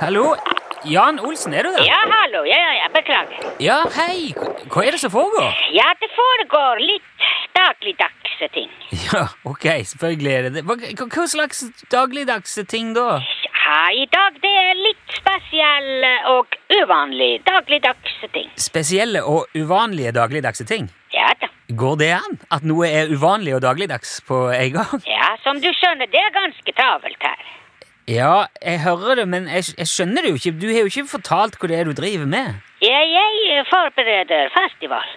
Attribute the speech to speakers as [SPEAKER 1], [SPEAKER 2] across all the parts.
[SPEAKER 1] Hallo? Jan Olsen, er du der?
[SPEAKER 2] Ja, hallo. Ja, ja, ja, beklager.
[SPEAKER 1] Ja, hei. Hva- Hva er det som foregår?
[SPEAKER 2] Ja, det foregår litt dagligdagse ting.
[SPEAKER 1] Ja, ok, selvfølgelig er det det. Hva, hva- hva slags dagligdagse ting da?
[SPEAKER 2] Ja, i dag det er litt spesiell og uvanlig dagligdagse ting.
[SPEAKER 1] Spesielle og uvanlige dagligdagse ting?
[SPEAKER 2] Ja da.
[SPEAKER 1] Går det an at noe er uvanlig og dagligdags på en gang?
[SPEAKER 2] Ja, som du skjønner, det er ganske travelt her.
[SPEAKER 1] Ja, jeg hører det, men jeg, jeg skjønner det jo ikke. Du har jo ikke fortalt hva det er du driver med.
[SPEAKER 2] Ja, jeg forbereder festival.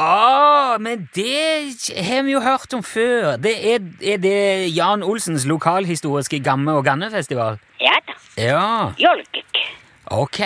[SPEAKER 1] Ah, men det har vi jo hørt om før. Det er, er det Jan Olsens lokalhistoriske Gamme- og Gannefestival?
[SPEAKER 2] Ja da.
[SPEAKER 1] Ja.
[SPEAKER 2] Jolkik.
[SPEAKER 1] Ok.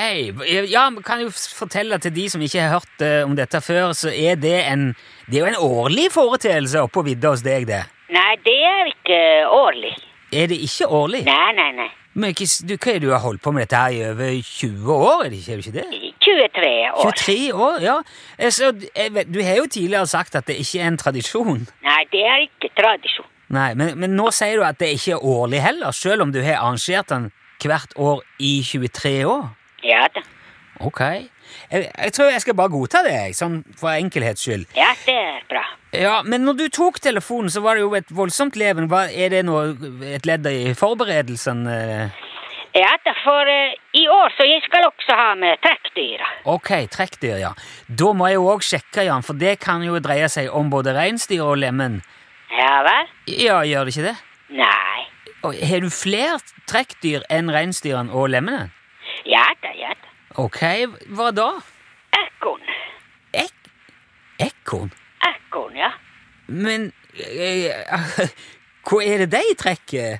[SPEAKER 1] Ja, men kan jeg jo f- fortelle til de som ikke har hørt eh, om dette før, så er det en Det er jo en årlig foreteelse oppe på vidda hos deg, det.
[SPEAKER 2] Nei, det er ikke årlig.
[SPEAKER 1] Er det ikke årlig?
[SPEAKER 2] Nei, nei, nei.
[SPEAKER 1] Men hva, s- du, hva er det du har holdt på med dette her i over 20 år? Er det ikke, er det ikke det?
[SPEAKER 2] 23 år.
[SPEAKER 1] 23 år, ja. Eh, Så, jeg vet- du har jo tidligere sagt at det ikke er en tradisjon.
[SPEAKER 2] Nei, det er ikke tradisjon.
[SPEAKER 1] Nei, men, men nå sier du at det ikke er årlig heller, selv om du har arrangert den hvert år i 23 år.
[SPEAKER 2] Ja da.
[SPEAKER 1] Ok. Jeg, jeg tror jeg skal bare godta det, jeg, sånn for enkelhets skyld.
[SPEAKER 2] Ja, det er bra.
[SPEAKER 1] Ja, Men når du tok telefonen, så var det jo et voldsomt leven. Hva, er det noe, et ledd i forberedelsen? eh?
[SPEAKER 2] Ja da, for eh, i år så jeg skal også ha med trekkdyra.
[SPEAKER 1] Ok, trekkdyr, ja. Da må jeg jo òg sjekke, Jan, for det kan jo dreie seg om både reinsdyr og lemen.
[SPEAKER 2] Ja vel?
[SPEAKER 1] Ja, gjør det ikke det?
[SPEAKER 2] Nei.
[SPEAKER 1] Og Har du flere trekkdyr enn reinsdyrene og lemmene?
[SPEAKER 2] Ja da, ja da.
[SPEAKER 1] Ok, hva da?
[SPEAKER 2] Ekorn.
[SPEAKER 1] Ek ekorn?
[SPEAKER 2] Ekorn, ja.
[SPEAKER 1] Men eh, Hva er det de trekker?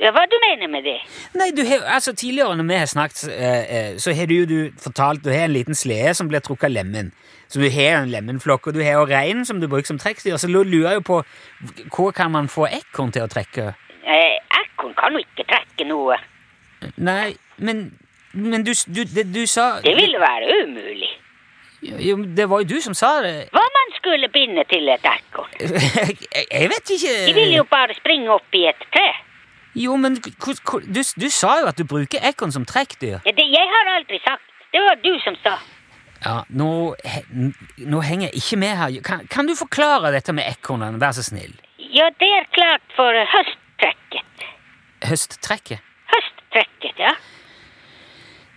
[SPEAKER 2] Ja, Hva du mener med det?
[SPEAKER 1] Nei, du har, altså Tidligere når vi har snakket, eh, eh, så har du, du fortalt du har en liten slede som blir trukket lemen. Så du har en lemenflokk, og du har jo reinen som du bruker som trekkstyr. Så lu- lurer jeg jo på hva kan man få ekorn til å trekke?
[SPEAKER 2] Eh, Ekorn kan jo ikke trekke noe.
[SPEAKER 1] Nei, men, men du, s- du, det, du sa
[SPEAKER 2] Det ville være umulig.
[SPEAKER 1] Jo, men det var jo du som sa det.
[SPEAKER 2] Hva man skulle binde til et ekorn?
[SPEAKER 1] Jeg, jeg vet ikke
[SPEAKER 2] De vil jo bare springe opp i et tre.
[SPEAKER 1] Jo, men hvor- hvor- du, s- du sa jo at du bruker ekorn som trekkdyr.
[SPEAKER 2] Ja, det, jeg har aldri sagt. Det var du som sa.
[SPEAKER 1] Ja, nå, he, n- nå henger jeg ikke med her. Kan, kan du forklare dette med ekornene, vær så snill?
[SPEAKER 2] Ja, det er klart for høsttrekket.
[SPEAKER 1] Høsttrekket?
[SPEAKER 2] Høsttrekket, ja.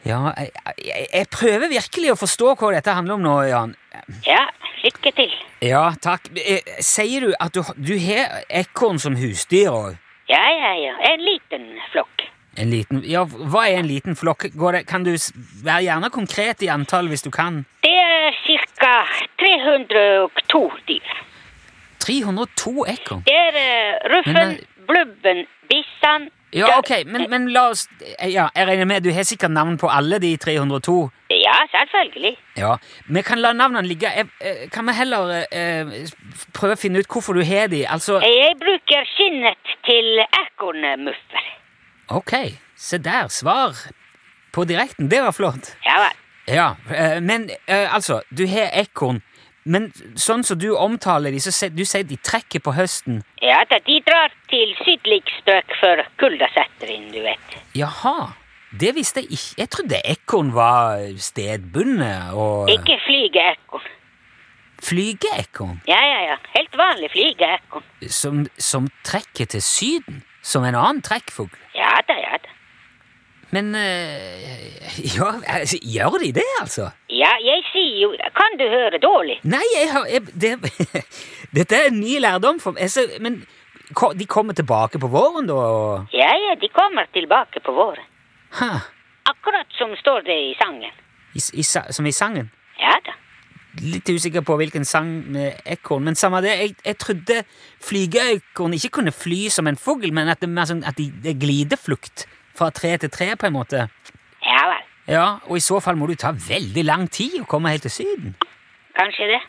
[SPEAKER 1] Ja, jeg, jeg, jeg prøver virkelig å forstå hva dette handler om nå, Jan.
[SPEAKER 2] Ja, lykke til.
[SPEAKER 1] Ja, takk. Eh, Sier du at du, du har ekorn som husdyr òg?
[SPEAKER 2] Ja, ja, ja. En liten flokk.
[SPEAKER 1] En liten Ja, hva er en liten flokk? Går det, kan du s- være gjerne konkret i antall hvis du kan?
[SPEAKER 2] Det er ca. 302 dyr.
[SPEAKER 1] 302 ekorn?
[SPEAKER 2] Det er eh, ruffen,
[SPEAKER 1] Men,
[SPEAKER 2] blubben, bissan
[SPEAKER 1] Ja, ok, men, men la oss eh, Ja, jeg regner med du har sikkert navn på alle de 302?
[SPEAKER 2] Ja, selvfølgelig.
[SPEAKER 1] Ja, Vi kan la navnene ligge. Jeg, eh, kan vi heller eh, eh, prøve å finne ut hvorfor du har de? Altså,
[SPEAKER 2] Jeg bruker skinnet til ekornmuffer.
[SPEAKER 1] ok, se der. Svar på direkten. Det var flott.
[SPEAKER 2] Ja vel.
[SPEAKER 1] Ja, eh, men eh, altså, du har ekorn. Men sånn som du omtaler de, så sier du sier de trekker på høsten.
[SPEAKER 2] Ja da, de drar til sydlig strøk før kulda setter inn, du vet.
[SPEAKER 1] Jaha. Det visste jeg ikke. Jeg trodde ekorn var stedbundet og
[SPEAKER 2] Ikke flygeekorn.
[SPEAKER 1] Flygeekorn
[SPEAKER 2] Ja, ja, ja. Helt vanlig flygeekorn.
[SPEAKER 1] som, som trekker til Syden som en annen trekkfugl.
[SPEAKER 2] Ja da, ja da.
[SPEAKER 1] Men eh, ja, altså, gjør de det, altså?
[SPEAKER 2] Ja, jeg sier jo Kan du høre dårlig?
[SPEAKER 1] Nei, jeg har jeg, det, Dette er en ny lærdom for meg. Altså, men ko- de kommer tilbake på våren, da? og-
[SPEAKER 2] Ja, ja, de kommer tilbake på våren.
[SPEAKER 1] Hæ?
[SPEAKER 2] Akkurat som står det i sangen.
[SPEAKER 1] I, s- i, sa- som i sangen?
[SPEAKER 2] Ja da.
[SPEAKER 1] Litt usikker på hvilken sang med ekorn, men samme det. Jeg, jeg trodde flygeekorn ikke kunne fly som en fugl, men at det er mer sånn at de, det er glideflukt fra tre til tre, på en måte.
[SPEAKER 2] Ja vel.
[SPEAKER 1] Ja, Og i så fall må det jo ta veldig lang tid å komme helt til Syden.
[SPEAKER 2] Kanskje det.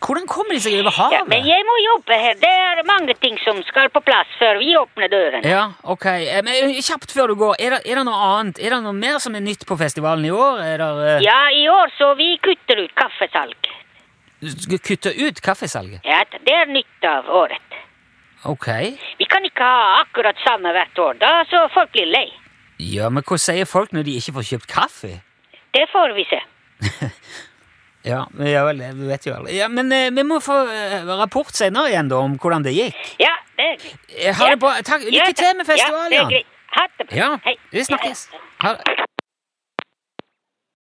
[SPEAKER 1] Hvordan kommer de seg over
[SPEAKER 2] Ja,
[SPEAKER 1] havet?
[SPEAKER 2] men jeg må jobbe her. Det er mange ting som skal på plass før vi åpner dørene.
[SPEAKER 1] Ja, ok. Eh, Men eh, kjapt før du går, er det, er det noe annet? Er det noe mer som er nytt på festivalen i år? Er det eh,
[SPEAKER 2] Ja, i år så vi kutter ut kaffesalg.
[SPEAKER 1] skal kutte ut kaffesalget?
[SPEAKER 2] Ja, det er nytt av året.
[SPEAKER 1] Ok.
[SPEAKER 2] Vi kan ikke ha akkurat samme hvert år. Da så folk blir lei.
[SPEAKER 1] Ja, men hva sier folk når de ikke får kjøpt kaffe?
[SPEAKER 2] Det får vi se.
[SPEAKER 1] Ja, men ja vel, det vet jo aldri. Ja, men eh, vi må få eh, rapport senere igjen da om hvordan det gikk.
[SPEAKER 2] Ja, det er greit.
[SPEAKER 1] Eh, Ha det bra. Takk.
[SPEAKER 2] Ja,
[SPEAKER 1] Lykke
[SPEAKER 2] Ja,
[SPEAKER 1] til med
[SPEAKER 2] det er
[SPEAKER 1] festivalen.
[SPEAKER 2] greit. Ha det bra.
[SPEAKER 1] Ja,
[SPEAKER 2] Hei.
[SPEAKER 1] vi snakkes. Ha det.